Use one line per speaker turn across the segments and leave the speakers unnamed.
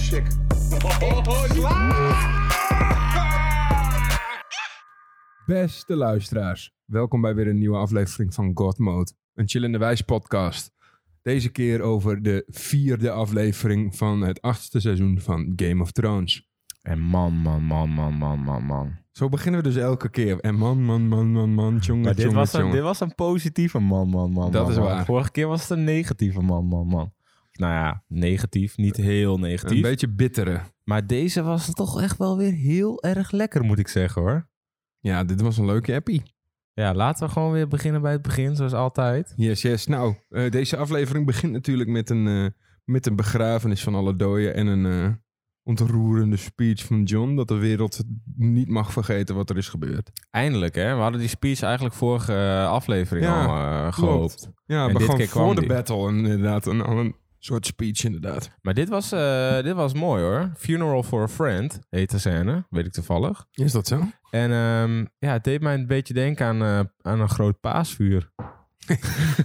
chick. Beste luisteraars, welkom bij weer een nieuwe aflevering van God Mode, een chillende wijs podcast. Deze keer over de vierde aflevering van het achtste seizoen van Game of Thrones.
En man, man, man, man, man, man, man.
Zo beginnen we dus elke keer. En man, man, man, man, man, jongen,
Maar dit was, een, dit was een positieve man, man, man.
Dat
man,
is
man.
waar.
Vorige keer was het een negatieve man, man, man. Nou ja, negatief, niet heel
Een
negatief.
beetje bittere.
Maar deze was toch echt wel weer heel erg lekker, moet ik zeggen hoor.
Ja, dit was een leuke appie.
Ja, laten we gewoon weer beginnen bij het begin, zoals altijd.
Yes, yes. Nou, eh, deze aflevering begint natuurlijk met een, eh, met een begrafenis van alle doden en een eh, ontroerende speech van John dat de wereld niet mag vergeten wat er is gebeurd.
Eindelijk hè, we hadden die speech eigenlijk vorige eh, aflevering
Ja,
al eh,
klopt.
gehoopt.
Ja,
En
maar
dit
gewoon
keer kwam
voor de
die.
battle inderdaad. Een, al een soort speech inderdaad.
Maar dit was, eh, dit was mooi hoor. Funeral for a Friend heet de scène, weet ik toevallig.
Is dat zo?
En ehm, ja, het deed mij een beetje denken aan, eh, aan een groot paasvuur.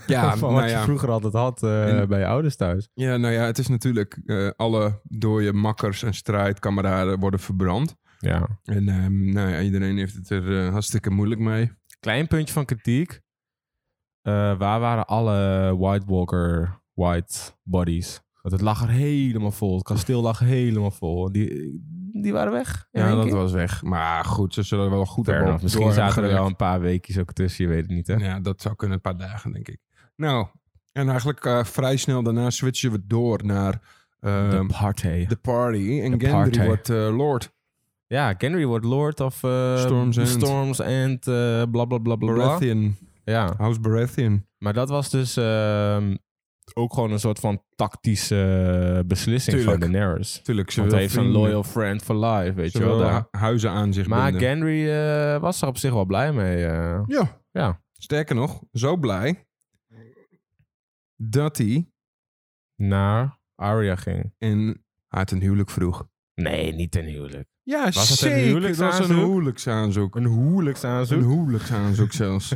Ja,
van
nou
wat je
ja.
vroeger altijd had eh, bij je ouders thuis.
ja, nou ja, het is natuurlijk eh, alle dode makkers en strijdkameraden worden verbrand.
Ja.
En ehm, nou ja, iedereen heeft het er eh, hartstikke moeilijk mee.
Klein puntje van kritiek. Eh, waar waren alle White Walker white bodies? Want het lag er helemaal vol. Het kasteel lag helemaal vol. Die, die waren weg. in
Ja,
één
dat
keer.
was weg. Maar goed, ze zullen wel goed
Fair
hebben.
enough.
op-
Misschien
door
zaten er
hebben
wel een paar weekjes ook tussen. Je weet het niet, hè?
Ja, dat zou kunnen een paar dagen, denk ik. Nou, en eigenlijk eh, vrij snel daarna switchen we door naar
De
ehm,
party.
de party. En
de
Gendry
party.
wordt eh, lord.
Ja, Henry wordt Lord of... eh,
Storm's End.
Storm's End, eh, bla, bla, bla, bla, bla.
Baratheon.
Ja.
House Baratheon.
Maar dat was dus ehm, ook gewoon een soort van tactische eh, beslissing
Tuurlijk.
van Daenerys.
Tuurlijk, ze
Want
wil
hij heeft een
vrienden-
loyal friend for life, weet
ze
je wel.
wil
daar.
hu- huizen aan zich
Maar
binden.
Gendry eh, was er op zich wel blij mee. eh.
Ja.
Ja.
Sterker nog, zo blij dat hij
naar Arya ging.
en haar ten huwelijk vroeg.
Nee, niet ten huwelijk.
Ja,
Was het een
zeker. Het was een
huwelijksaanzoek?
huwelijksaanzoek.
Een
Een
huwelijksaanzoek.
huwelijksaanzoek zelfs.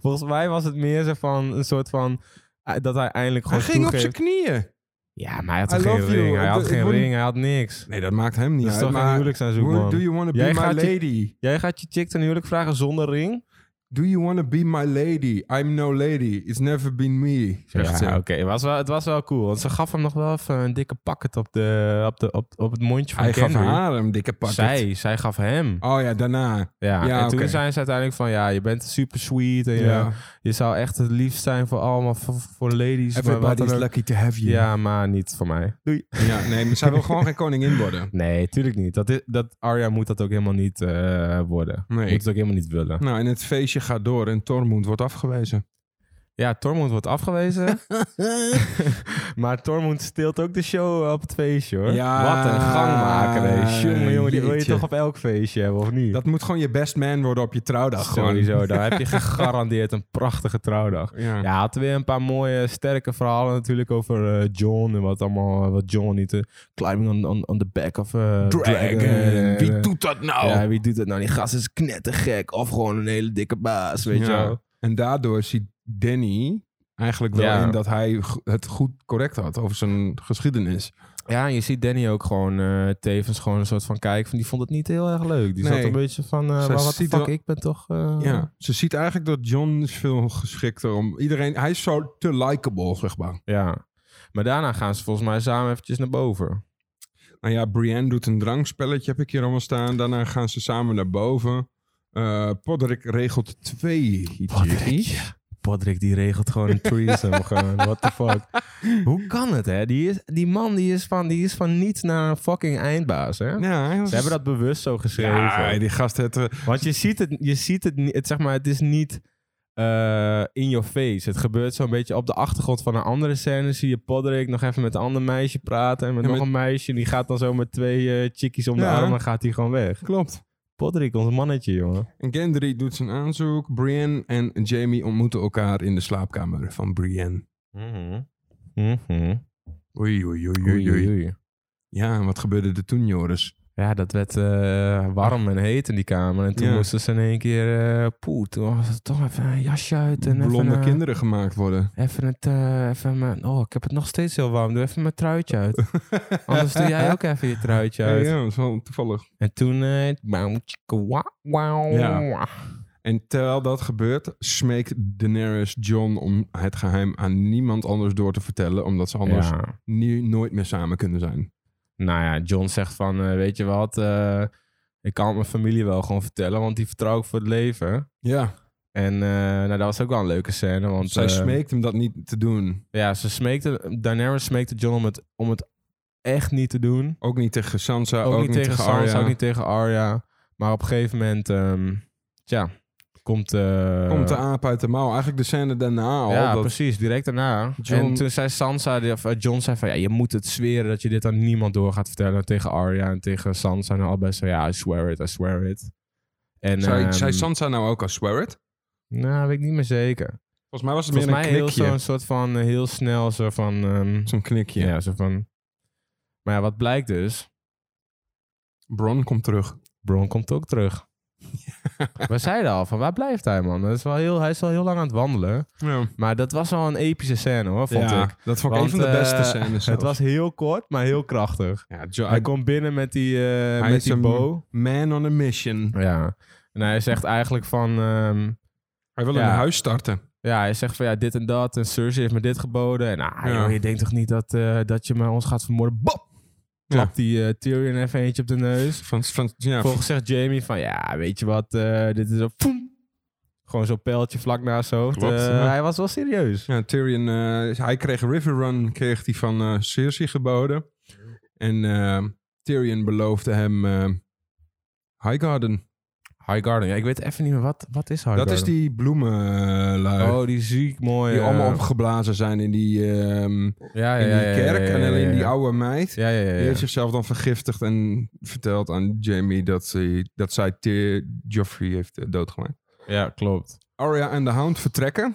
Volgens mij was het meer zo van een soort van... eh, Dat hij eindelijk
Hij
gewoon
ging op
toegeeft-
zijn knieën.
Ja, maar hij had
I
toch geen
love you.
ring. Hij
Ik-
had
ik
geen
word-
ring, hij had niks.
Nee, dat maakt hem niet
Dat is
uit.
toch een
maar
huwelijksaanzoek,
Who-
man.
Do you want to be
Jij
my
gaat je-
lady?
Jij gaat je chick ten huwelijk vragen zonder ring?
Do you want to be my lady? I'm no lady. It's never been me. Zegt ze.
Ja, oké. Het was wel- Het was wel cool. Want ze gaf hem nog wel even een dikke pakket op, de, op, de, op, op het mondje van
Hij gaf
Gendry.
haar een dikke pakket.
Zij, zij gaf hem.
Oh ja, daarna.
Ja,
Ja,
en toen
oké.
zijn ze uiteindelijk van, ja, je bent super sweet en
Ja.
je, je zou echt het liefst zijn voor allemaal, voor, voor ladies. maar wat dan
Everybody's
ook.
lucky to have you.
Ja, maar niet voor mij. Doei.
Ja, nee, maar zij wil gewoon geen koningin worden.
Nee, tuurlijk niet. Dat, is, dat Arya moet dat ook helemaal niet eh, worden.
Nee.
Moet het ook helemaal niet willen.
Nou, en het feestje gaat door en Tormund wordt afgewezen.
Ja, Tormund wordt afgewezen. maar Tormund steelt ook de show op het feestje, hoor.
Ja,
Wat een gangmaker, hè. Jongen, jongen, die wil je
jeetje.
toch op elk feestje hebben, of niet?
Dat moet gewoon je best man worden op je trouwdag. gewoon.
Sowieso, daar heb je gegarandeerd een prachtige trouwdag.
Ja.
Ja, had weer een paar mooie, sterke verhalen natuurlijk over eh, John en wat allemaal, wat John niet, eh, climbing on, on, on the back of eh
Dragon.
en,
Wie
eh,
doet dat nou?
Ja, wie doet dat nou? Die gast is knettergek of gewoon een hele dikke baas, weet je
Ja.
wel.
En daardoor ziet Danny eigenlijk wel
Ja.
in dat hij g- het goed correct had over zijn geschiedenis.
Ja, en je ziet Danny ook gewoon eh, tevens gewoon een soort van kijk van, die vond het niet heel erg leuk. Die
Nee.
zat een beetje van, eh
Zij
wat de
ziet
fuck,
wel-
ik ben toch... eh,
Ja. Ze ziet eigenlijk dat John is veel geschikter om iedereen... Hij is zo te likable, zeg maar.
ja. Maar daarna gaan ze volgens mij samen eventjes naar boven.
Nou ja, Brienne doet een drankspelletje, heb ik hier allemaal staan. Daarna gaan ze samen naar boven. Eh Podrick regelt twee hitjes.
Patrick die regelt gewoon een threesome. gewoon. What the fuck. Hoe kan het, hè? Die, is, die man die is, van, die is van niets naar een fucking eindbaas, hè?
Ja, hij was-
Ze hebben dat bewust zo geschreven.
Ja, die gast het... eh,
Want je ziet het, je ziet het, niet- het, zeg maar, het is niet eh, in your face. Het gebeurt zo'n beetje op de achtergrond van een andere scène. Zie je Podrick nog even met een ander meisje praten. En met
Ja,
nog
met-
een meisje. Die gaat dan zo met twee eh chickies om de
Ja.
arm en gaat hij gewoon weg.
Klopt.
Podrick, ons mannetje, jongen.
En Gendry doet zijn aanzoek. Brienne en Jamie ontmoeten elkaar in de slaapkamer van Brienne.
Mhm.
Oei, oei, oei, oei, oei.
Oei, oei, oei.
Ja, en wat gebeurde er toen, Joris?
Ja, dat werd eh, warm en heet in die kamer. En toen
Ja.
moesten ze in één keer... eh, poeh, toen was het toch even een jasje uit. En
Blonde
even, eh,
kinderen gemaakt worden.
Even het... eh, even mijn, oh, ik heb het nog steeds heel warm. Doe even mijn truitje uit. Anders doe jij ook even je truitje
Ja,
uit.
ja, dat is wel toevallig.
En toen... eh, wauw, tjieke, wauw, wauw.
Ja. En terwijl dat gebeurt, smeekt Daenerys John om het geheim aan niemand anders door te vertellen, omdat ze anders
Ja.
nu nooit meer samen kunnen zijn.
Nou ja, John zegt van, eh, weet je wat, eh, ik kan het mijn familie wel gewoon vertellen, want die vertrouw ik voor het leven.
Ja,
En eh, nou, dat was ook wel een leuke scène, want
zij
eh,
smeekt hem dat niet te doen.
ja, ze smeekte, Daenerys smeekte John om het, om het echt niet te doen.
Ook niet tegen Sansa,
Ook, niet tegen Sansa,
Arya.
ook niet tegen Arya. Maar op een gegeven moment, ehm tja, komt... eh,
Komt de aap uit de mouw. Eigenlijk de scène daarna al.
ja,
dat-
precies, direct daarna.
John-
En toen zei Sansa, die- of eh, John zei van, ja, je moet het zweren dat je dit aan niemand door gaat vertellen. Tegen Arya en tegen Sansa en al best zo, ja, I swear it, I swear it. En,
zei,
ehm,
zei Sansa nou ook als swear it?
Nou, weet ik niet meer zeker.
Volgens mij was het
Volgens
meer
mij
een
heel
knikje.
zo'n soort van, eh, heel snel zo van, ehm,
Zo'n knikje.
ja, zo van. Maar ja, wat blijkt dus,
Bron komt terug.
Bron komt ook terug. We zeiden al van, waar blijft hij man? Dat is wel heel, hij is wel heel lang aan het wandelen.
Ja,
Maar dat was wel een epische scène hoor, vond ik.
dat vond ik
Want,
een van de
eh,
beste scènes.
Het
zelfs.
was heel kort, maar heel krachtig.
ja, Jo-
Hij komt binnen met die, eh, met
is
die
een-
bow.
man on a mission.
Ja. En hij zegt eigenlijk van... ehm,
Hij wil
Ja.
een huis starten.
ja, hij zegt van ja, dit en dat. En Cersei heeft me dit geboden. En ah,
Ja.
joh, je denkt toch niet dat, eh, dat je me ons gaat vermoorden? Bop! Klapt die eh, Tyrion even eentje op de neus.
Van, van, ja,
Vervolgens zegt Jamie van ja, weet je wat? eh, dit is een poem. Gewoon zo'n pijltje vlak naast zijn hoofd.
Klopt,
Eh,
ja.
Hij was wel serieus.
Ja, Tyrion, eh, hij kreeg River Run, kreeg hij van eh, Cersei geboden. En eh, Tyrion beloofde hem eh Highgarden.
High Garden. Ja, ik weet even niet meer wat, wat is High
Dat is
Garden?
die bloemenlui.
Oh, die ziek eh, mooi.
die
eh,
allemaal opgeblazen zijn in die, ehm,
ja, ja,
in
ja, ja,
die kerk.
ja, ja,
En alleen
ja.
die oude meid.
Ja, ja, ja.
Die
ja.
heeft zichzelf dan vergiftigd en verteld aan Jamie dat, ze, dat zij Tyr- Joffrey heeft eh, doodgemaakt.
Ja, klopt.
Arya en de Hound vertrekken.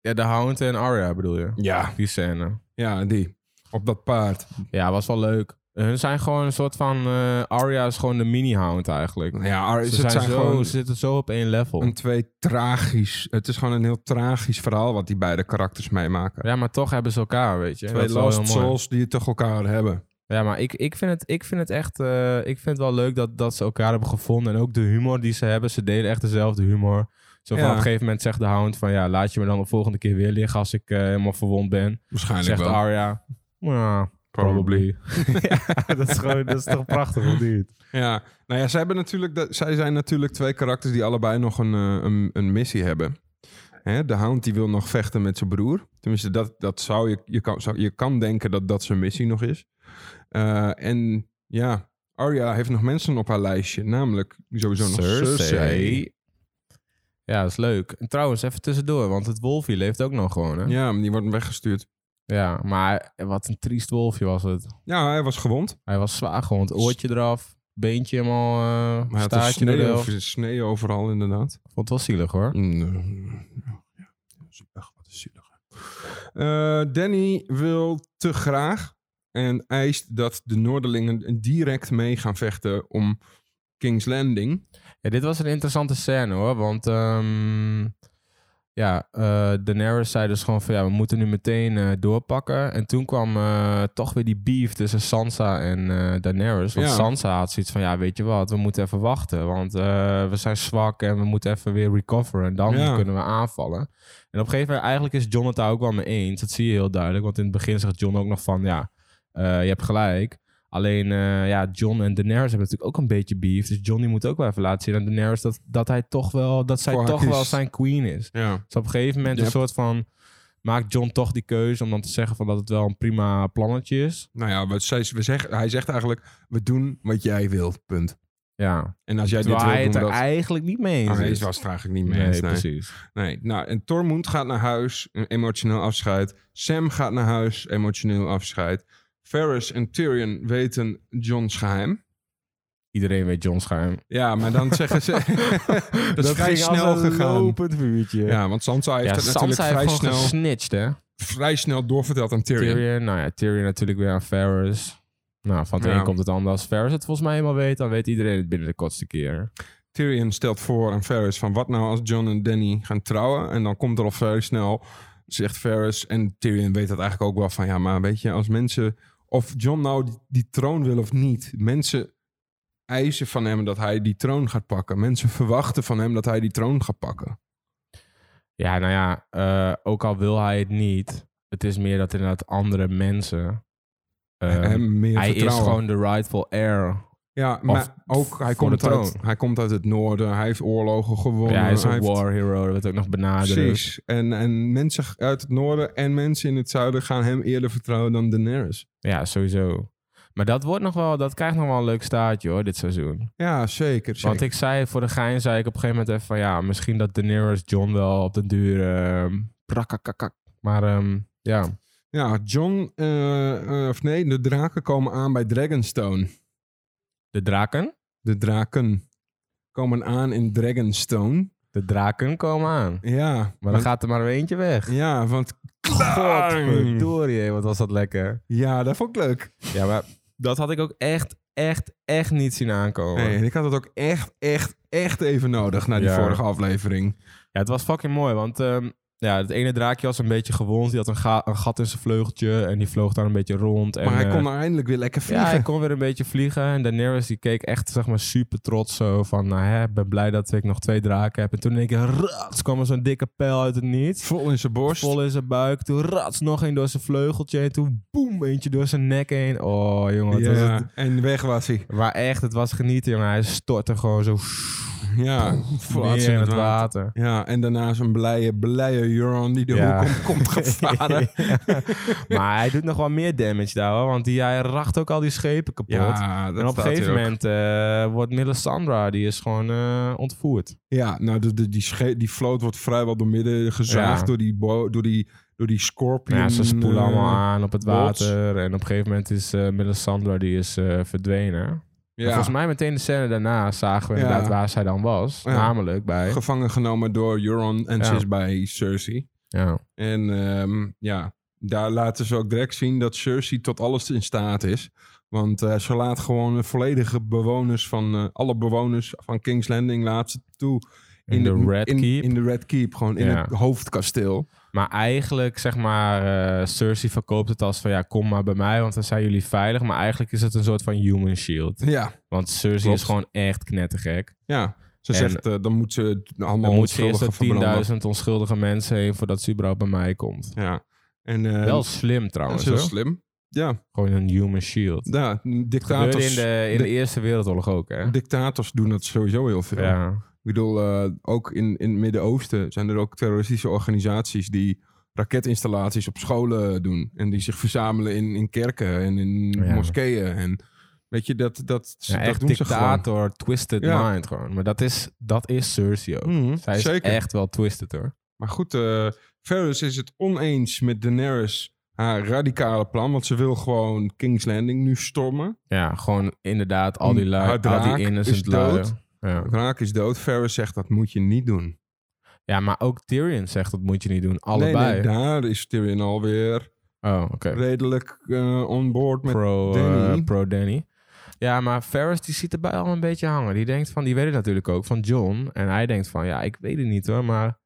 Ja, de Hound en Arya bedoel je?
Ja.
Die scène.
Ja, die. Op dat paard.
Ja, was wel leuk. Hun zijn gewoon een soort van... eh, Arya is gewoon de mini-Hound eigenlijk.
Nou Ja, Arya,
Ze,
het
zijn
zijn
zo,
gewoon
ze zitten zo op één level.
een twee tragisch. Het is gewoon een heel tragisch verhaal wat die beide karakters meemaken.
Ja, maar toch hebben ze elkaar, weet je. Dat
twee
is wel
lost
heel mooi.
souls die het toch elkaar hebben.
Ja, maar ik, ik, vind het, ik vind het echt... eh, ik vind het wel leuk dat, dat ze elkaar hebben gevonden. En ook de humor die ze hebben. Ze delen echt dezelfde humor. Zo van
Ja.
op een gegeven moment zegt de Hound van... Ja, laat je me dan de volgende keer weer liggen als ik eh, helemaal verwond ben.
Waarschijnlijk
Zegt
wel.
Arya... Ja, probably. ja, dat is, gewoon, dat is toch prachtig, of niet?
Ja, nou ja, zij, hebben natuurlijk, dat- zij zijn natuurlijk twee karakters die allebei nog een, eh, een, een missie hebben. Hè, de Hound die wil nog vechten met zijn broer. Tenminste, dat, dat zou je, je, kan, zou, je kan denken dat dat zijn missie nog is. Eh, en ja, Arya heeft nog mensen op haar lijstje. Namelijk sowieso nog Cersei.
Ja, dat is leuk. En trouwens, even tussendoor, want het wolfje leeft ook nog gewoon, hè?
Ja, maar die wordt weggestuurd.
Ja, maar wat een triest wolfje was het.
Ja, hij was gewond.
Hij was zwaar gewond. Oortje eraf, beentje helemaal, eh
Maar hij had
staartje
snee,
eraf.
over, snee overal, inderdaad.
Vond het wel zielig, hoor.
Zielig, wat is zielig. Eh, Danny wil te graag en eist dat de Noorderlingen direct mee gaan vechten om King's Landing.
Ja, dit was een interessante scène, hoor. Want, ehm, ja, eh Daenerys zei dus gewoon van, ja, we moeten nu meteen eh, doorpakken. En toen kwam eh, toch weer die beef tussen Sansa en eh, Daenerys. Want
Ja.
Sansa had zoiets van, ja, weet je wat, we moeten even wachten. Want eh, we zijn zwak en we moeten even weer recoveren. En dan
Ja.
kunnen we aanvallen. En op een gegeven moment, eigenlijk is John het daar ook wel mee eens. Dat zie je heel duidelijk. Want in het begin zegt John ook nog van, ja, eh, je hebt gelijk. Alleen, eh, ja, John en Daenerys hebben natuurlijk ook een beetje beef. Dus John die moet ook wel even laten zien aan Daenerys dat, dat hij toch wel, dat zij
Voor haar
toch wel
kiest.
zijn queen is.
Ja.
Dus op een gegeven moment
Yep.
een soort van... Maakt John toch die keuze om dan te zeggen van dat het wel een prima plannetje is?
Nou ja, wat zij, we zeg, hij zegt eigenlijk, we doen wat jij wilt, punt.
Ja.
En als jij
Terwijl hij
dit
het
wilt
er
doen, dat...
eigenlijk niet mee eens
Ah,
is.
Hij was het eigenlijk niet mee
nee,
eens, nee.
precies.
Nee, nou, en Tormund gaat naar huis, een emotioneel afscheid. Sam gaat naar huis, emotioneel afscheid. Ferris en Tyrion weten John's geheim.
Iedereen weet John Schuim.
Ja, maar dan zeggen ze... dat is vrij
ging als
snel
een
gegaan.
lopend vuurtje. Ja,
Ja, want Sansa heeft het
Sansa
natuurlijk
heeft
vrij,
gewoon
snel,
gesnitcht, hè?
vrij snel doorverteld aan Tyrion.
Tyrion. Nou ja, Tyrion natuurlijk weer aan Ferris. Nou, van het
Ja.
een komt het ander. Als Ferris het volgens mij helemaal weet, dan weet iedereen het binnen de kortste keer.
Tyrion stelt voor aan Ferris van wat nou als John en Danny gaan trouwen. En dan komt er al vrij snel, zegt Ferris. En Tyrion weet dat eigenlijk ook wel van ja, maar weet je, als mensen, of John nou die, die troon wil of niet, mensen eisen van hem dat hij die troon gaat pakken. Mensen verwachten van hem dat hij die troon gaat pakken.
Ja, nou ja, eh, ook al wil hij het niet, het is meer dat inderdaad andere mensen. eh,
hem meer
hij is
vertrouwen.
gewoon de rightful heir.
ja, maar ook hij
voor de
komt, uit,
troon.
hij komt uit het noorden. Hij heeft oorlogen gewonnen.
Ja, hij is een
heeft-
war dus. hero, dat werd ook nog benaderd.
Precies. En, en mensen uit het noorden en mensen in het zuiden gaan hem eerder vertrouwen dan Daenerys.
Ja, sowieso. Maar dat wordt nog wel, dat krijgt nog wel een leuk staartje hoor, dit seizoen.
Ja, zeker. zeker.
Want ik zei voor de gein, zei ik op een gegeven moment even van ja, misschien dat Daenerys John wel op den duur ehm prakkakakak. Maar ehm, ja,
Ja, John, eh, eh, of nee, de draken komen aan bij Dragonstone.
de draken,
De draken komen aan in Dragonstone.
de draken komen aan.
Ja,
Maar dan
want-
gaat er maar weer eentje weg.
ja, want
Godverdorie, wat was dat lekker.
ja, dat vond ik leuk.
Ja, maar dat had ik ook echt, echt, echt niet zien aankomen.
Nee, en ik had het ook echt, echt, echt even nodig na die
Ja.
vorige aflevering.
Ja, het was fucking mooi, want ehm, ja, het ene draakje was een beetje gewond. Die had een, ga- een gat in zijn vleugeltje en die vloog daar een beetje rond. En,
maar hij
eh,
kon eindelijk weer lekker vliegen.
Ja, hij kon weer een beetje vliegen. En Daenerys die keek echt zeg maar, super trots zo van... Nou, hè, ik ben blij dat ik nog twee draken heb. En toen in één keer rats, kwam er zo'n dikke pijl uit het niets.
Vol in zijn borst.
Vol in zijn buik. Toen rats nog een door zijn vleugeltje. En toen boem, eentje door zijn nek heen. Oh, jongen. wat was
ja,
het-
en weg was hij.
Maar echt, het was genieten, jongen. Hij stortte gewoon zo
Ja,
neer in het water.
Ja, en daarna zo'n blije, blije Euron die de
Ja.
hoek om komt gevaren.
maar hij doet nog wel meer damage daar, hoor. Want die, hij racht ook al die schepen kapot.
dat
en op een
staat
gegeven
hier ook.
moment eh, wordt Melisandre, die is gewoon eh, ontvoerd.
Ja, nou, de, de- die, sche- die vloot wordt vrijwel door midden gezaagd
Ja.
door, die bo- door, die, door die scorpion.
Ja, ze spoelen
eh,
allemaal aan op het
bots.
water. En op een gegeven moment is eh Melisandre die is eh, verdwenen. En
Ja,
Volgens mij meteen de scène daarna zagen we
Ja.
inderdaad waar zij dan was.
Ja.
Namelijk bij...
gevangen genomen door Euron en
Ja.
ze is bij Cersei.
Ja.
En ehm, ja, daar laten ze ook direct zien dat Cersei tot alles in staat is. Want eh, ze laat gewoon de volledige bewoners van eh, alle bewoners van King's Landing laat ze toe.
In de
het-
Red
in,
Keep.
In de Red Keep, gewoon in
Ja.
het hoofdkasteel.
Maar eigenlijk, zeg maar, eh, Cersei verkoopt het als van... Ja, kom maar bij mij, want dan zijn jullie veilig. Maar eigenlijk is het een soort van human shield.
Ja,
Want Cersei
Klopt.
is gewoon echt knettergek.
ja. Ze
En-
zegt, eh, dan moet ze het allemaal
Dan moet ze eerst
onschuldigen verbranden.
door 10.000 onschuldige mensen heen... voordat ze überhaupt bij mij komt.
Ja. En, eh,
Wel slim
dat is
trouwens,
heel
hoor.
slim. Ja,
Gewoon een human shield.
ja
Gebeurde in
dictators,
de, in de Eerste Wereldoorlog ook, hè?
dictators doen dat sowieso heel veel.
Ja.
Ik bedoel, eh, ook in, in het Midden-Oosten zijn er ook terroristische organisaties die raketinstallaties op scholen doen. En die zich verzamelen in, in kerken en in
Ja.
moskeeën. En weet je, dat, dat,
Ja,
dat
echt
doen ze gewoon.
dictator, twisted
Ja.
mind gewoon. Maar dat is, dat is Cersei ook.
Mhm,
Zij is
zeker.
echt wel twisted hoor.
Maar goed, eh Ferris is het oneens met Daenerys haar radicale plan. Want ze wil gewoon King's Landing nu stormen.
Ja, gewoon inderdaad al die lui,
Haar
al
draak
die innocent
Mm, is dood.
lui. Ja.
Raak is dood. Ferris zegt dat moet je niet doen.
ja, maar ook Tyrion zegt dat moet je niet doen.
Nee,
Allebei.
nee, daar is Tyrion alweer
Oh, oké.
redelijk eh on board met...
Pro, eh,
Danny.
pro Danny. Ja, maar Ferris die ziet erbij al een beetje hangen. Die denkt van, die weet het natuurlijk ook van John. En hij denkt van, ja, ik weet het niet hoor, maar...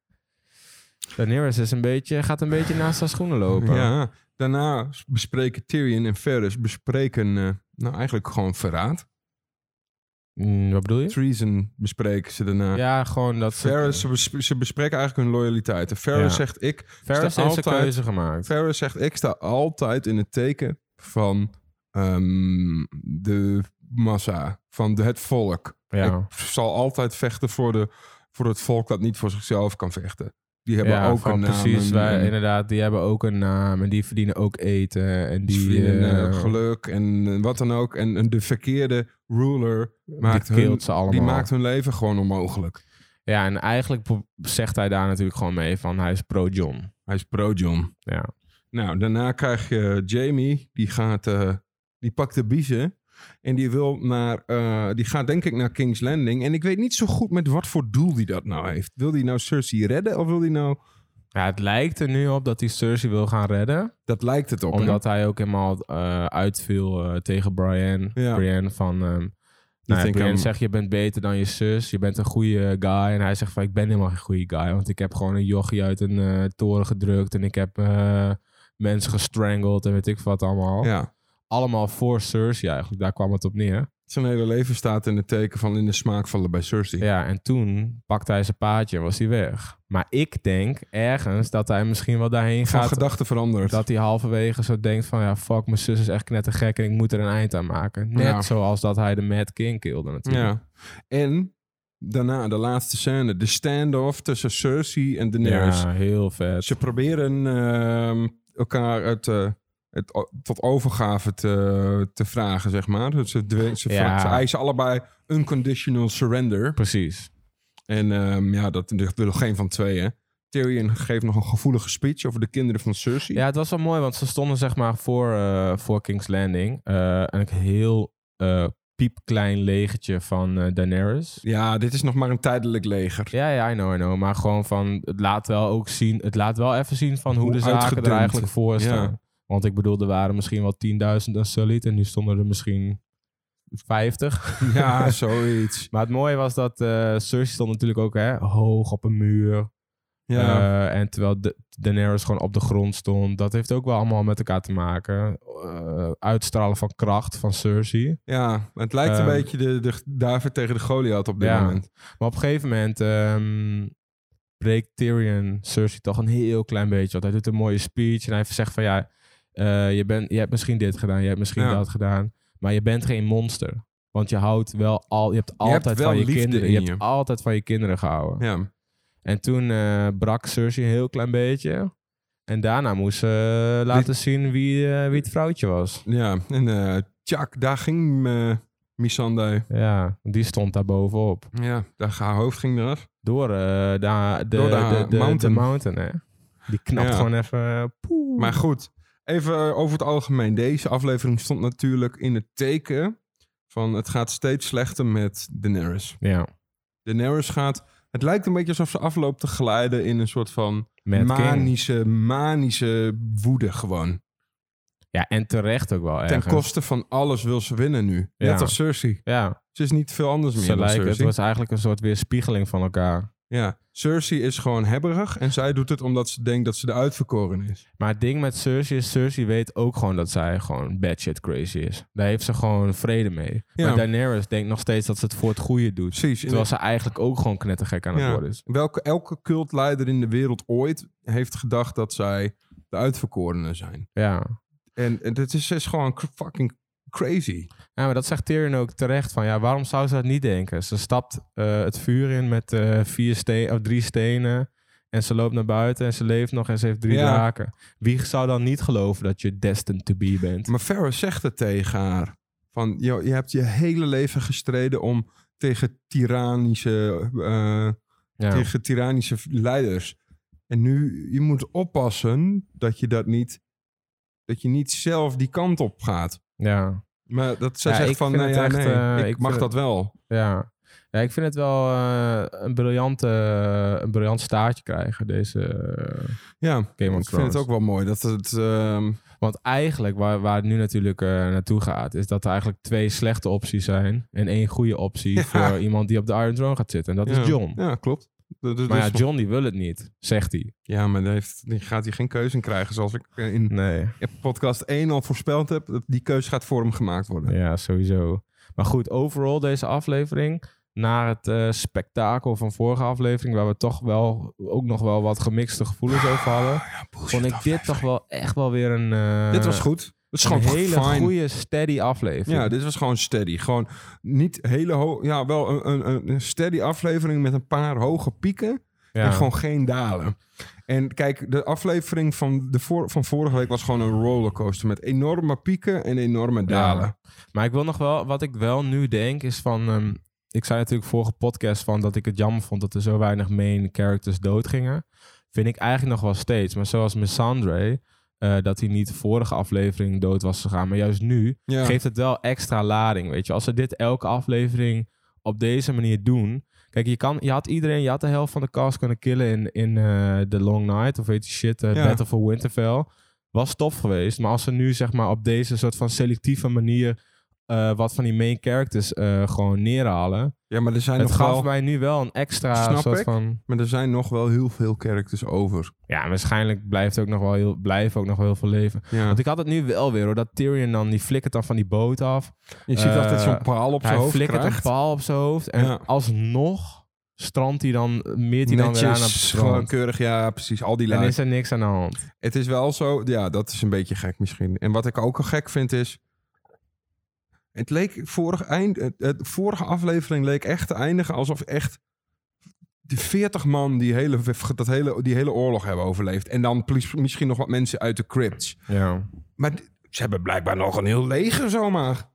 Daenerys is een beetje, gaat een beetje naast haar schoenen lopen.
Ja, daarna s- bespreken Tyrion en Ferris bespreken, eh, nou eigenlijk gewoon verraad.
Mm, wat bedoel je?
Treason bespreken ze daarna.
Ja, gewoon dat ze-
Ferris, ze, besp- ze bespreken eigenlijk hun loyaliteiten. Ferris
Ja.
zegt ik...
Ferris
sta
heeft zijn
altijd-
keuze gemaakt.
Ferris zegt ik sta altijd in het teken van ehm, de massa, van de, het volk.
Ja.
Ik zal altijd vechten voor, de, voor het volk dat niet voor zichzelf kan vechten. Die hebben
ja,
ook
van
een naam.
precies.
en-
wij,
en-
inderdaad, die hebben ook een naam en die verdienen ook eten. En die,
Die,
eh,
geluk en eh, wat dan ook. En, en de verkeerde ruler maakt
die
hun,
keelt ze allemaal.
die maakt hun leven gewoon onmogelijk.
Ja, en eigenlijk pro- zegt hij daar natuurlijk gewoon mee van hij is pro-John.
Hij is pro-John.
Ja.
Nou, daarna krijg je Jamie. Die, gaat, eh, die pakt de biezen. En die, wil naar, eh, die gaat denk ik naar King's Landing. En ik weet niet zo goed met wat voor doel die dat nou heeft. Wil die nou Cersei redden? Of wil die nou
Ja, het lijkt er nu op dat hij Cersei wil gaan redden.
Dat lijkt het op. hè?
Omdat hij ook helemaal eh, uitviel eh, tegen Brian.
Ja.
Brian van... ehm nou ja,
think
Brian
I'm-
zegt, je bent beter dan je zus. Je bent een goede guy. En hij zegt van, ik ben helemaal geen goede guy. Want ik heb gewoon een jochie uit een eh, toren gedrukt. En ik heb eh, mensen gestrangeld en weet ik wat allemaal.
Ja.
Allemaal voor Cersei eigenlijk. Daar kwam het op neer.
Zijn hele leven staat in het teken van in de smaak vallen bij Cersei.
Ja, en toen pakte hij zijn paadje en was hij weg. Maar ik denk ergens dat hij misschien wel daarheen
Van
gaat. eh,
gedachten veranderd.
Dat hij halverwege zo denkt van... ja, fuck, mijn zus is echt knettergek en ik moet er een eind aan maken. Net
Ja.
zoals dat hij de Mad King kilde natuurlijk.
ja. En daarna de laatste scène. De standoff tussen Cersei en Daenerys.
Ja, heel vet.
Ze proberen ehm, elkaar het, eh, het, o- tot overgave te, te vragen, zeg maar. Dus Ze, dwe- ze,
Ja.
ze eisen allebei unconditional surrender.
Precies.
En ehm, ja, dat, dat wil geen van tweeën. Tyrion geeft nog een gevoelige speech over de kinderen van Cersei.
Ja, het was wel mooi, want ze stonden zeg maar voor, eh, voor King's Landing. eh, en een heel eh, piepklein legertje van eh, Daenerys.
Ja, dit is nog maar een tijdelijk leger.
Ja, ja, I know, I know. Maar gewoon van, het laat wel ook zien, het laat wel even zien van hoe,
Hoe
de zaken
uitgedund.
er eigenlijk voor
Ja.
staan. Want ik bedoel, er waren misschien wel 10.000 en solid en nu stonden er misschien 50.
Ja, zoiets.
Maar het mooie was dat eh Cersei stond natuurlijk ook hè, hoog op een muur.
Ja.
Eh, en terwijl Da- Daenerys gewoon op de grond stond. Dat heeft ook wel allemaal met elkaar te maken. Eh, uitstralen van kracht van Cersei.
Ja, het lijkt een
Ehm,
beetje de, de David tegen de Goliath op dit
Ja.
moment.
Maar op een gegeven moment ehm, breekt Tyrion Cersei toch een heel klein beetje. Want hij doet een mooie speech en hij zegt van ja, eh, je, bent, je hebt misschien dit gedaan, je hebt misschien
Ja.
dat gedaan. Maar je bent geen monster. Want je houdt wel al, je hebt
hebt
altijd
wel
van je
liefde
kinderen.
in
Je hebt
je.
altijd van je kinderen gehouden.
Ja.
En toen eh, brak Cersei een heel klein beetje. En daarna moest ze eh, laten zien wie, eh, wie het vrouwtje was.
ja, en eh tjak, daar ging eh Missandei.
Ja, die stond daar bovenop.
Ja, daar, haar hoofd ging eraf.
Door, eh, da- de,
Door de
de, de- de
mountain.
mountain. hè? Die knapt
Ja.
gewoon even. eh, poeh.
Maar goed, even over het algemeen. Deze aflevering stond natuurlijk in het teken van het gaat steeds slechter met Daenerys.
ja,
Daenerys gaat... Het lijkt een beetje alsof ze afloopt te glijden in een soort van
Mad King.
manische, manische woede gewoon.
Ja, en terecht ook wel.
Ten
Ergens.
koste van alles wil ze winnen nu.
Ja.
Net als Cersei.
Ja,
Ze is niet veel anders meer
ze
dan
lijken. Het
Cersei.
was eigenlijk een soort weerspiegeling van elkaar.
Ja, Cersei is gewoon hebberig en zij doet het omdat ze denkt dat ze de uitverkoren is.
Maar het ding met Cersei is: Cersei weet ook gewoon dat zij gewoon bad shit crazy is. Daar heeft ze gewoon vrede mee.
Ja.
Maar Daenerys denkt nog steeds dat ze het voor het goede doet.
Precies.
Terwijl ze eigenlijk ook gewoon knettergek aan het
Ja.
worden is.
Welke, elke cultleider in de wereld ooit heeft gedacht dat zij de uitverkorenen zijn.
Ja.
En, en dit is, is gewoon cr- fucking crazy.
ja, maar dat zegt Tyrion ook terecht. Van, ja, waarom zou ze dat niet denken? Ze stapt eh, het vuur in met eh, vier steen, of drie stenen. En ze loopt naar buiten en ze leeft nog en ze heeft drie
Ja.
draken. Wie zou dan niet geloven dat je destined to be bent?
Maar Farrah zegt het tegen haar. Van, "Yo, je hebt je hele leven gestreden om tegen tyrannische, eh,
Ja.
tegen tyrannische leiders. En nu, je moet oppassen dat je dat niet, dat je niet zelf die kant op gaat.
ja.
Maar dat zij
Ja,
zegt
ik
van,
vind
nou
het
ja,
echt,
nee,
eh,
ik,
ik
mag
vind
dat wel.
Ja. ja, ik vind het wel eh, een, briljante, een briljant staartje krijgen, deze eh,
Ja,
Game of
ik vind
Thrones.
het ook wel mooi dat het... ehm,
Want eigenlijk, waar, waar het nu natuurlijk eh, naartoe gaat, is dat er eigenlijk twee slechte opties zijn. En één goede optie
Ja.
voor iemand die op de Iron Throne gaat zitten. En dat
ja.
is John.
Ja, klopt. Dat- dat-
Maar
dat
ja,
is- dus
John die wil het niet, zegt hij.
ja, maar daar heeft, die gaat hij geen keuze in krijgen. Zoals ik eh, in
Nee.
podcast 1 al voorspeld heb. dat Die keuze gaat voor hem gemaakt worden.
Ja, sowieso. Maar goed, overal deze aflevering. Na het eh, spektakel van vorige aflevering, waar we toch wel ook nog wel wat gemixte gevoelens over hadden,
Nou
vond ik dit toch wel echt wel weer een. eh,
Dit was goed. Het is
een
gewoon
hele
fine.
goede, steady aflevering.
Ja, dit was gewoon steady. Gewoon niet hele hoog... Ja, wel een, een- een, een steady aflevering met een paar hoge pieken.
Ja.
En gewoon geen dalen. En kijk, de aflevering van, de voor, van vorige week was gewoon een rollercoaster met enorme pieken en enorme dalen.
Maar ik wil nog wel, wat ik wel nu denk, is van. ehm, ik zei natuurlijk vorige podcast van dat ik het jammer vond dat er zo weinig main characters doodgingen. Vind ik eigenlijk nog wel steeds. Maar zoals Missandre, eh dat hij niet vorige aflevering dood was gegaan. Maar juist nu
Ja.
geeft het wel extra lading. Weet je, als ze dit elke aflevering op deze manier doen. Kijk, je, kan, je had iedereen, je had de helft van de cast kunnen killen in, in eh, The Long Night of weet je shit, eh,
Ja.
Battle for Winterfell. Was tof geweest, maar als ze nu zeg maar op deze soort van selectieve manier eh, wat van die main characters eh, gewoon neerhalen.
Ja, maar er zijn
Het
nog
gaf
wel...
mij nu wel een extra
Snap
soort
ik.
van...
Maar er zijn nog wel heel veel characters over.
Ja, waarschijnlijk blijft ook nog wel heel, blijven ook nog wel heel veel leven.
Ja.
Want ik had het nu wel weer hoor, dat Tyrion dan, die flikkert dan van die boot af.
Je ziet altijd
eh,
zo'n paal op zijn
hij
hoofd
flikkert
krijgt.
een paal op zijn hoofd. En
Ja.
alsnog strandt hij dan, meert hij dan weer aan op het
Netjes, gewoon
strand.
keurig. Ja, precies. Al die
En
lui.
is er niks aan de hand.
Het is wel zo, ja, dat is een beetje gek misschien. En wat ik ook al gek vind is... Het leek vorig eind, het, het vorige aflevering leek echt te eindigen alsof echt de 40 man die hele, dat hele, die hele oorlog hebben overleefd. En dan plus- misschien nog wat mensen uit de crypts.
Ja.
Maar d- ze hebben blijkbaar nog een heel leger zomaar.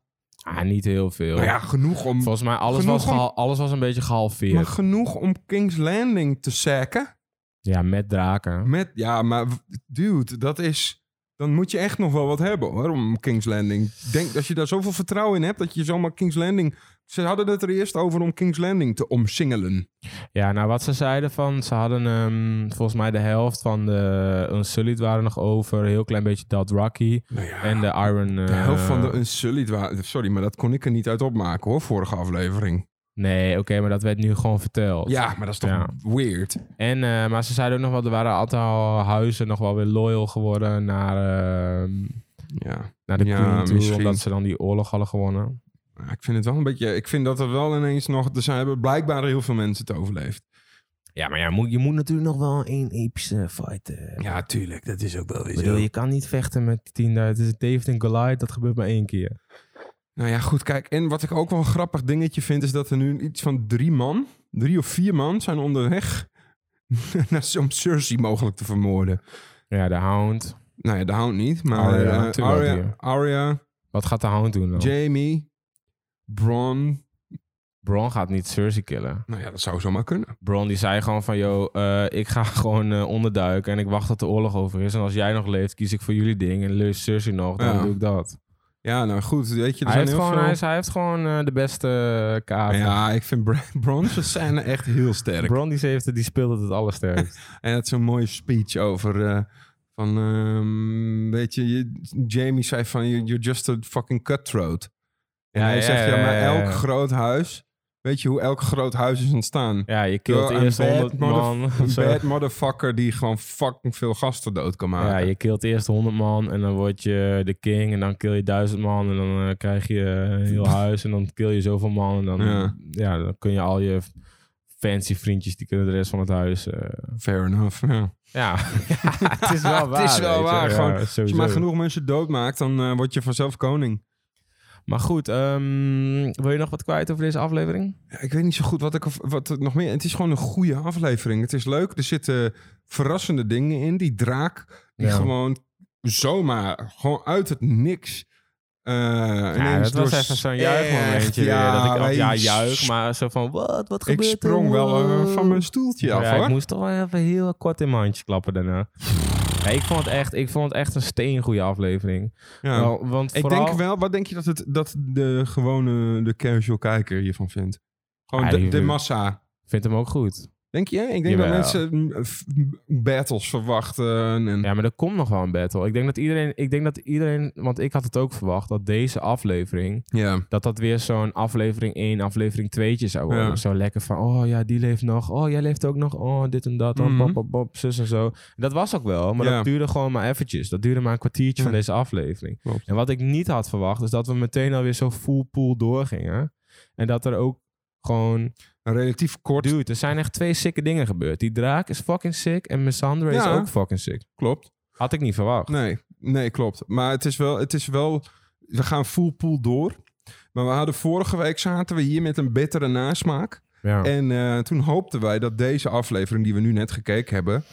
Ah, niet heel veel.
Nou ja, genoeg om,
Volgens mij alles
Genoeg
was,
om-
geha- alles was een beetje gehalveerd.
maar genoeg om King's Landing te sacken.
Ja, met draken.
Met, ja, maar w- dude, dat is... Dan moet je echt nog wel wat hebben hoor, om King's Landing. Denk dat je daar zoveel vertrouwen in hebt dat je zomaar King's Landing... Ze hadden het er eerst over om King's Landing te omsingelen.
Ja, nou wat ze zeiden van, ze hadden ehm, volgens mij de helft van de Unsullied waren nog over. Een heel klein beetje Dothraki
Nou ja,
en de Iron... eh,
de helft van de Unsullied wa- Sorry, maar dat kon ik er niet uit opmaken hoor, vorige aflevering.
Nee, oké, maar dat werd nu gewoon verteld.
Ja, maar dat is toch
Ja.
weird.
En, eh, maar ze zeiden ook nog wel, er waren een aantal huizen nog wel weer loyal geworden naar, ehm,
Ja.
naar de
Ja,
queen toe.
misschien.
Omdat ze dan die oorlog hadden gewonnen.
Maar Ik vind het wel een beetje... Ik vind dat er wel ineens nog... Er zijn, hebben blijkbaar heel veel mensen het overleefd.
Ja, maar ja, moet, je moet natuurlijk nog wel één epische fight hebben.
Ja, tuurlijk. Dat is ook wel
Ik bedoel, je kan niet vechten met 10.000. Het is David en Goliath, dat gebeurt maar één keer.
Nou ja, goed, kijk. En wat ik ook wel een grappig dingetje vind, is dat er nu iets van drie man, drie of vier man, zijn onderweg naar- om Cersei mogelijk te vermoorden.
Ja, de Hound.
Nou ja, de hound niet, maar
Arya,
eh,
natuurlijk Oh.
Arya,
die.
Arya,
Wat gaat de Hound doen dan?
Jamie, Bron.
Bron gaat niet Cersei killen.
Nou ja, dat zou zomaar kunnen.
Bron die zei gewoon van, yo, eh, ik ga gewoon eh, onderduiken en ik wacht tot de oorlog over is. En als jij nog leeft, kies ik voor jullie ding en leus Cersei nog, dan
Ja.
doe ik dat.
Ja, nou goed, weet je, er
Hij
zijn
heeft,
heel
gewoon,
veel...
hij, is- hij heeft gewoon eh, de beste kaart.
ja, ik vind Br- Bron's scène echt heel sterk.
Bron die, heeft, het- die speelt het het allersterkst.
Hij had zo'n mooie speech over. eh, van, ehm, weet je, je- Jamie zei van, "You- you're just a fucking cutthroat. En
Ja,
hij
ja,
zegt, ja,
ja,
maar
ja, ja.
elk groot huis, weet je hoe elk groot huis is ontstaan?
ja, je kilt
Yo,
eerst
een bad
100 man.
Een
zo.
bad motherfucker die gewoon fucking veel gasten dood kan maken.
Ja, je kilt eerst 100 man en dan word je de king en dan kill je 1000 man en dan eh, krijg je een heel huis en dan kill je zoveel man en dan,
Ja.
ja. dan kun je al je fancy vriendjes, die kunnen de rest van het huis... eh,
Fair enough, ja.
ja. het is wel waar.
Het is wel
weet je.
waar,
Ja,
gewoon, Als je
sowieso.
maar genoeg mensen doodmaakt, dan eh, word je vanzelf koning.
Maar goed, ehm, wil je nog wat kwijt over deze aflevering?
Ja, ik weet niet zo goed wat ik of- wat er nog meer... Het is gewoon een goede aflevering. Het is leuk, er zitten verrassende dingen in. Die draak Die
Ja.
gewoon zomaar, gewoon uit het niks. eh
Ja,
ineens
dat was
door
even zo'n
echt,
juichmomentje
ja,
weer. Dat ik
wij-
dacht, ja, juich, maar zo van, wat, wat
Ik
gebeurt er?
sprong wel eh, van mijn stoeltje af,
Ja, ik
hoor.
moest toch wel even heel kort in mijn handje klappen daarna. Ja, ik, vond het echt, ik vond het echt een steengoede aflevering.
Ja.
Wel, want
ik
vooral,
denk wel, wat denk je dat, het, dat de gewone, de casual kijker hiervan vindt? Gewoon
Ah,
de,
die-
de massa.
Ik vind hem ook goed.
Denk je? Ik denk
Jawel.
dat mensen mm, f- battles verwachten. En,
Ja, maar er komt nog wel een battle. Ik denk dat iedereen, ik denk dat iedereen want ik had het ook verwacht, dat deze aflevering,
ja.
dat dat weer zo'n aflevering 1, aflevering 2 zou worden.
Ja.
Zo lekker van, oh ja, die leeft nog. Oh, jij leeft ook nog. Oh, dit en dat.
Mhm.
Oh, pop, pop, pop, zus en zo. Dat was ook wel, maar
Ja.
dat duurde gewoon maar eventjes. Dat duurde maar een kwartiertje
Ja.
van deze aflevering.
Klopt.
En wat ik niet had verwacht, is dat we meteen alweer zo full pool doorgingen. En dat er ook gewoon...
Relatief kort.
Dude, er zijn echt twee sicke dingen gebeurd. Die draak is fucking sick en Missandra is
Ja.
ook fucking sick.
Klopt.
Had ik niet verwacht.
Nee, nee, klopt. Maar het is wel, het is wel we gaan full pool door. Maar we hadden vorige week zaten we hier met een bittere nasmaak.
Ja.
En eh, toen hoopten wij dat deze aflevering die we nu net gekeken hebben,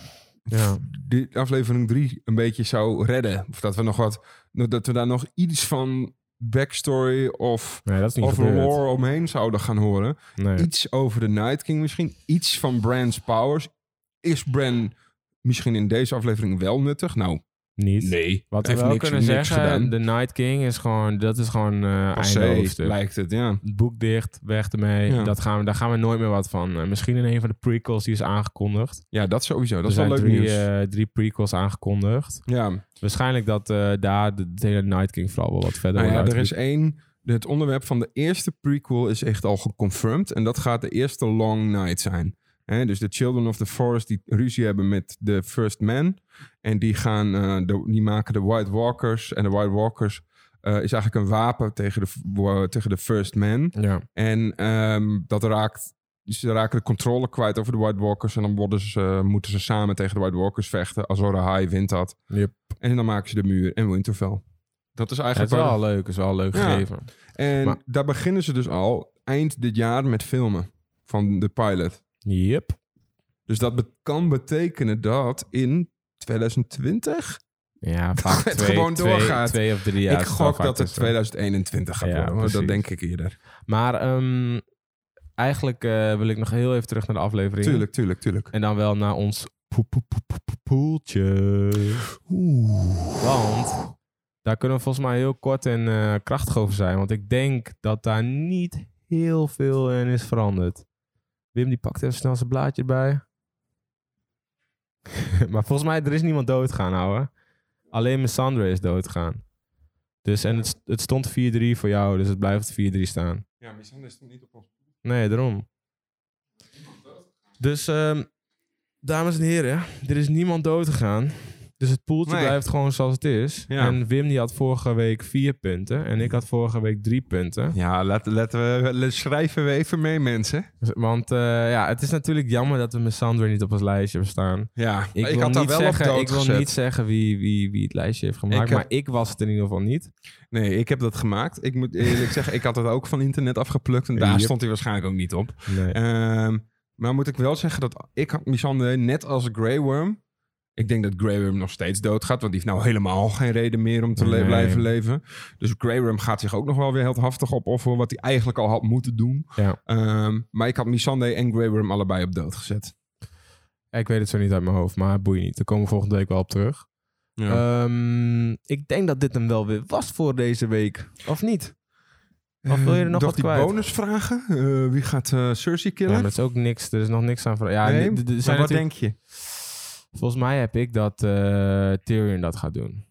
ja.
die aflevering 3 een beetje zou redden. Of dat we nog wat, dat we daar nog iets van backstory of,
Nee, dat is niet
of
gebeurd.
lore omheen zouden gaan horen.
Nee.
Iets over de Night King misschien, iets van Bran's powers. Is Bran misschien in deze aflevering wel nuttig? Nou,
Niet.
Nee,
Wat we
heeft
wel
niks,
kunnen
niks
zeggen,
gedaan.
The Night King is gewoon, dat is gewoon eh
Passé,
einde hoofdstuk.
lijkt het, ja.
Het boek dicht, weg ermee.
Ja.
Dat gaan we, daar gaan we nooit meer wat van. Eh, misschien in een van de prequels die is aangekondigd.
Ja, dat sowieso. Dat
er
is wel
zijn
leuk
drie,
nieuws.
eh, drie prequels aangekondigd.
ja,
Waarschijnlijk dat eh, daar de, het hele Night King vooral wel wat verder
nou ja,
wordt
er is één... Het onderwerp van de eerste prequel is echt al geconfirmed. En dat gaat de eerste Long Night zijn. Hè, dus de Children of the Forest die ruzie hebben met de First Man. En die, gaan, eh, de- die maken de White Walkers. En de White Walkers eh, is eigenlijk een wapen tegen de, w- tegen de First Man.
uitge- Ja.
En ehm, dat raakt. dus Ze raken de controle kwijt over de White Walkers. En dan worden ze, eh, moeten ze samen tegen de White Walkers vechten. Azora High wint dat.
Yep.
En dan maken ze de muur en Winterfell. Dat is
Het
eigenlijk
is
waar-
wel leuk, is wel leuk
Ja.
gegeven.
En
Maar-
daar beginnen ze dus al eind dit jaar met filmen van de pilot.
Yep.
Dus dat be- kan betekenen dat in 2020...
Ja, vaak
het
twee,
gewoon
twee-
doorgaat.
twee of drie jaar.
ik
is wel
gok
vaak
dat het
tussen.
2021 gaat
Ja,
worden. hoor. Dat
precies.
denk ik eerder.
Maar ehm, eigenlijk eh, wil ik nog heel even terug naar de aflevering.
Tuurlijk, tuurlijk, tuurlijk.
En dan wel naar ons poe- poe- poe- poe- poe- poeltje. Want daar kunnen we volgens mij heel kort en eh, krachtig over zijn. Want ik denk dat daar niet heel veel in is veranderd. Wim die pakt even snel zijn blaadje erbij. maar volgens mij, er is niemand doodgaan, ouwe. Alleen Missandre is doodgaan. Dus, en het, st- het stond 4-3 voor jou, dus het blijft 4-3 staan.
Ja, misschien is het niet op ons.
Nee, daarom. Dus, ehm, dames en heren, er is niemand dood gegaan. Dus het poeltje
Nee.
blijft gewoon zoals het is.
Ja.
En Wim die had vorige week vier punten. En ik had vorige week drie punten.
Ja, Nou, laat- laten we, le- schrijven we even mee, mensen.
Want eh, ja, het is natuurlijk jammer dat we Missandre niet op ons lijstje hebben staan.
Ja,
Ik, wil, niet zeggen, ik wil niet zeggen wie, wie, wie het lijstje heeft gemaakt.
Ik eh, heb-
Maar ik was het in ieder geval niet.
Nee, ik heb dat gemaakt. Ik moet eerlijk zeggen, ik had dat ook van internet afgeplukt. En daar
Yep.
stond hij waarschijnlijk ook niet op.
Nee.
Ehm, maar moet ik wel zeggen dat ik had Misander net als Grey Worm... Ik denk dat Grey Worm nog steeds doodgaat. Want die heeft nou helemaal geen reden meer om te le-
Nee.
blijven leven. Dus Grey Worm gaat zich ook nog wel weer heel haftig opofferen. Wat hij eigenlijk al had moeten doen.
Ja.
Ehm, maar ik had Missandei en Grey Worm allebei op dood gezet.
Ik weet het zo niet uit mijn hoofd, maar boeien niet. Daar komen we volgende week wel op terug. Eh, Ehm, ik denk dat dit hem wel weer was voor deze week. Of niet? Of wil je er nog
Toch
wat
die
kwijt?
Ehm, bonusvragen? Eh, wie gaat eh Cersei
Ja,
killen?
maar dat is ook niks. Er is nog niks aan voor. Ja,
Nee,
d- d- d- er
maar
zijn
wat
natuurlijk-
denk je?
Volgens mij heb ik dat eh, Tyrion dat gaat doen.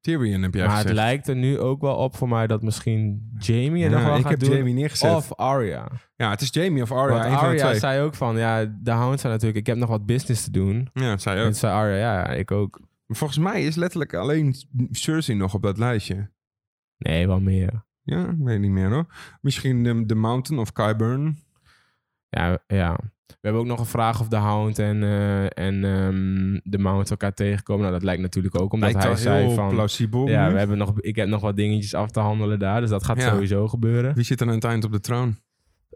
Tyrion heb jij
maar
gezegd.
het lijkt er nu ook wel op voor mij dat misschien Jamie
Ja,
het nog wel
ik
gaat
heb
doen.
Jamie neergezet.
Of Arya.
ja, het is Jamie of
Want
Arya. een van de
Arya
twee.
zei ook van, ja, de hound zei natuurlijk, ik heb nog wat business te doen.
Ja, het zei
En
ook.
toen zei Arya, ja, ja, ik ook.
Maar volgens mij is letterlijk alleen Cersei nog op dat lijstje.
Nee, wel meer.
Ja, ik weet niet meer hoor. Misschien de, de Mountain of Kyburn.
Ja, ja. We hebben ook nog een vraag of de hound en, eh, en ehm, de mount elkaar tegenkomen. Nou, dat lijkt natuurlijk ook omdat
Lijkt
hij
wel
zei
heel
van...
plausibel.
Ja,
nu.
we hebben nog, ik heb nog wat dingetjes af te handelen daar. Dus dat gaat
Ja.
sowieso gebeuren.
Wie zit er aan het eind op de troon?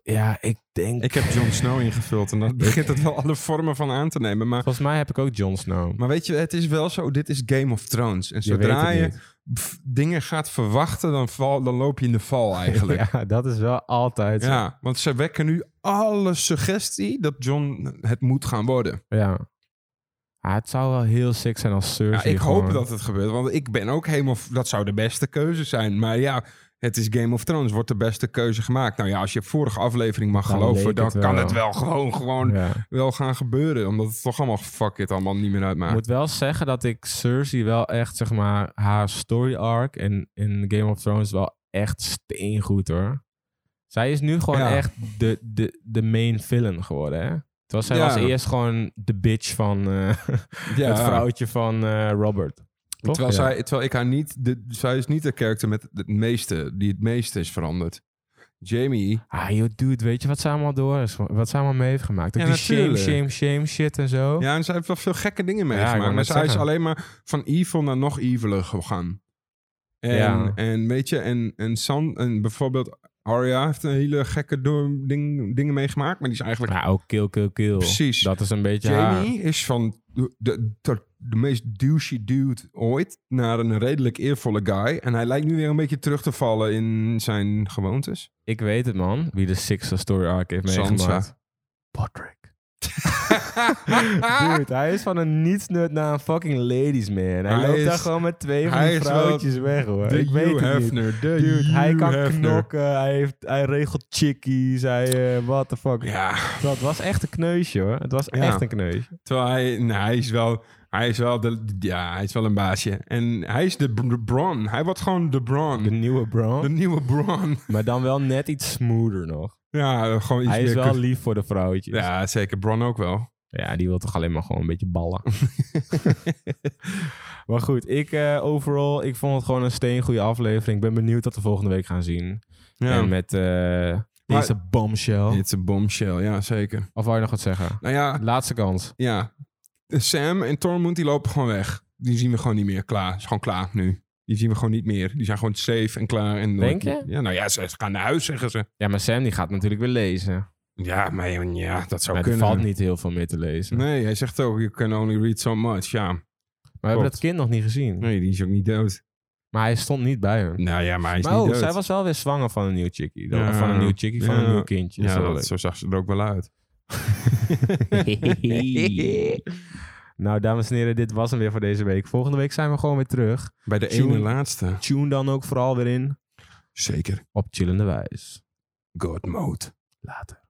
Ja, ik denk...
Ik heb Jon Snow ingevuld en dat begint het wel alle vormen van aan te nemen. Maar,
Volgens mij heb ik ook Jon Snow.
maar weet je, het is wel zo, dit is Game of Thrones. En
Je weet
zodra
het
je
niet.
pff, dingen gaat verwachten, dan, val, dan loop je in de val eigenlijk.
Ja, dat is wel altijd zo. Ja.
Ja, want ze wekken nu alle suggestie dat John het moet gaan worden.
Ah, het zou wel heel sick zijn als
Ja,
Cersei
ik hoop
Dus gewoon-
dat het gebeurt, want ik ben ook helemaal... f- Dat zou de beste keuze zijn. Maar ja, het is Game of Thrones, wordt de beste keuze gemaakt. Nou ja, als je vorige aflevering mag
Dan leek
geloven, dan
het
kan
wel.
het wel gewoon, gewoon
Ja.
wel gaan gebeuren. Omdat het toch allemaal, fuck it, allemaal niet meer
Ik
uitmaakt.
moet wel zeggen dat ik Cersei wel echt, zeg maar, haar story arc in, in Game of Thrones wel echt steengoed hoor. Zij is nu gewoon
Ja.
echt de, de, de main villain geworden, hè? Terwijl zij
Ja.
was eerst gewoon de bitch van, eh,
ja,
het vrouwtje van eh, Robert. Toch?
terwijl,
Ja.
zij, terwijl ik haar niet... De, zij is niet de karakter met het meeste, die het meeste is veranderd. Jamie...
Ah, joh, dude, weet je wat zij allemaal door is? Wat zij allemaal mee heeft gemaakt? Ook
Ja,
die
natuurlijk.
shame, shame, shame shit en zo.
Ja, en zij heeft wel veel gekke dingen
Ja, ik wou
meegemaakt. maar
net
zij is
zeggen.
alleen maar van evil naar nog eviler gegaan. En,
Ja.
en weet je, en, en, San, en bijvoorbeeld Arya heeft een hele gekke do- ding, dingen meegemaakt. Maar die is eigenlijk...
Maar ook kill, kill, kill.
Precies.
Dat is een beetje haar.
Jamie is van de, de, de, de meest douchey dude ooit naar een redelijk eervolle guy. En hij lijkt nu weer een beetje terug te vallen in zijn gewoontes.
Ik weet het, man. Wie de Sixer story arc heeft
Sansa.
meegemaakt. Patrick. Dude, hij is van een nietsnut naar een fucking ladies man. Hij,
Hij
loopt daar
is-
gewoon met twee van
hij
die
is wel
vrouwtjes weg hoor.
de
Ik weet
Hugh
het niet.
Hefner. De
Dude, hij
Hugh
kan
Hefner.
knokken, hij, heeft, hij regelt chickies, hij, eh, what the fuck.
Ja,
Dat was echt een kneusje hoor. Het was
Ja.
echt een kneusje.
terwijl hij, nou, hij is wel, hij is wel, de, ja, hij is wel een baasje. En hij is de, Br- de Bron. Hij wordt gewoon de Bron.
De
De,
nieuwe Brown.
nieuwe Bron.
Maar dan wel net iets smoother nog.
Ja, gewoon iets
Hij is
meer
wel
kus-
lief voor de vrouwtjes. Ja.
Ja, zeker. Bron ook wel.
die wil toch alleen maar gewoon een beetje ballen. maar goed, ik eh, overal, ik vond het gewoon een steengoede aflevering. Ik ben benieuwd wat we volgende week gaan zien.
Ja.
En met eh, deze bombshell.
It's a bombshell. Ja, zeker.
Of wou je nog wat zeggen?
Nou ja,
Laatste kans.
ja. Sam en Tormund, die lopen gewoon weg. Die zien we gewoon niet meer. Klaar. Is gewoon klaar nu. Die zien we gewoon niet meer. Die zijn gewoon safe en klaar. En
Denk je?
Ja, nou ja, ze, ze gaan naar huis, zeggen ze.
Ja, maar Sam die gaat natuurlijk weer lezen.
Ja, maar ja, dat zou
Maar er
kunnen.
valt niet heel veel meer te lezen.
Nee, hij zegt ook, you can only read so much. Ja,
Maar we hebben
Klopt.
dat kind nog niet gezien.
nee, die is ook niet dood.
Maar hij stond niet bij hem.
Nou ja, maar hij is
Maar
niet
oh,
dood.
zij was wel weer zwanger van een nieuw chickie.
Ja.
Of Van een nieuw chickie, van
Ja.
een nieuw kindje.
Ja,
Is wel
dat, zo zag ze er ook wel uit.
leuk. nou, dames en heren, dit was hem weer voor deze week. Volgende week zijn we gewoon weer terug.
Bij de
Tune.
ene laatste.
Tune dan ook vooral weer in
Zeker.
op chillende wijs.
God mode.
Later.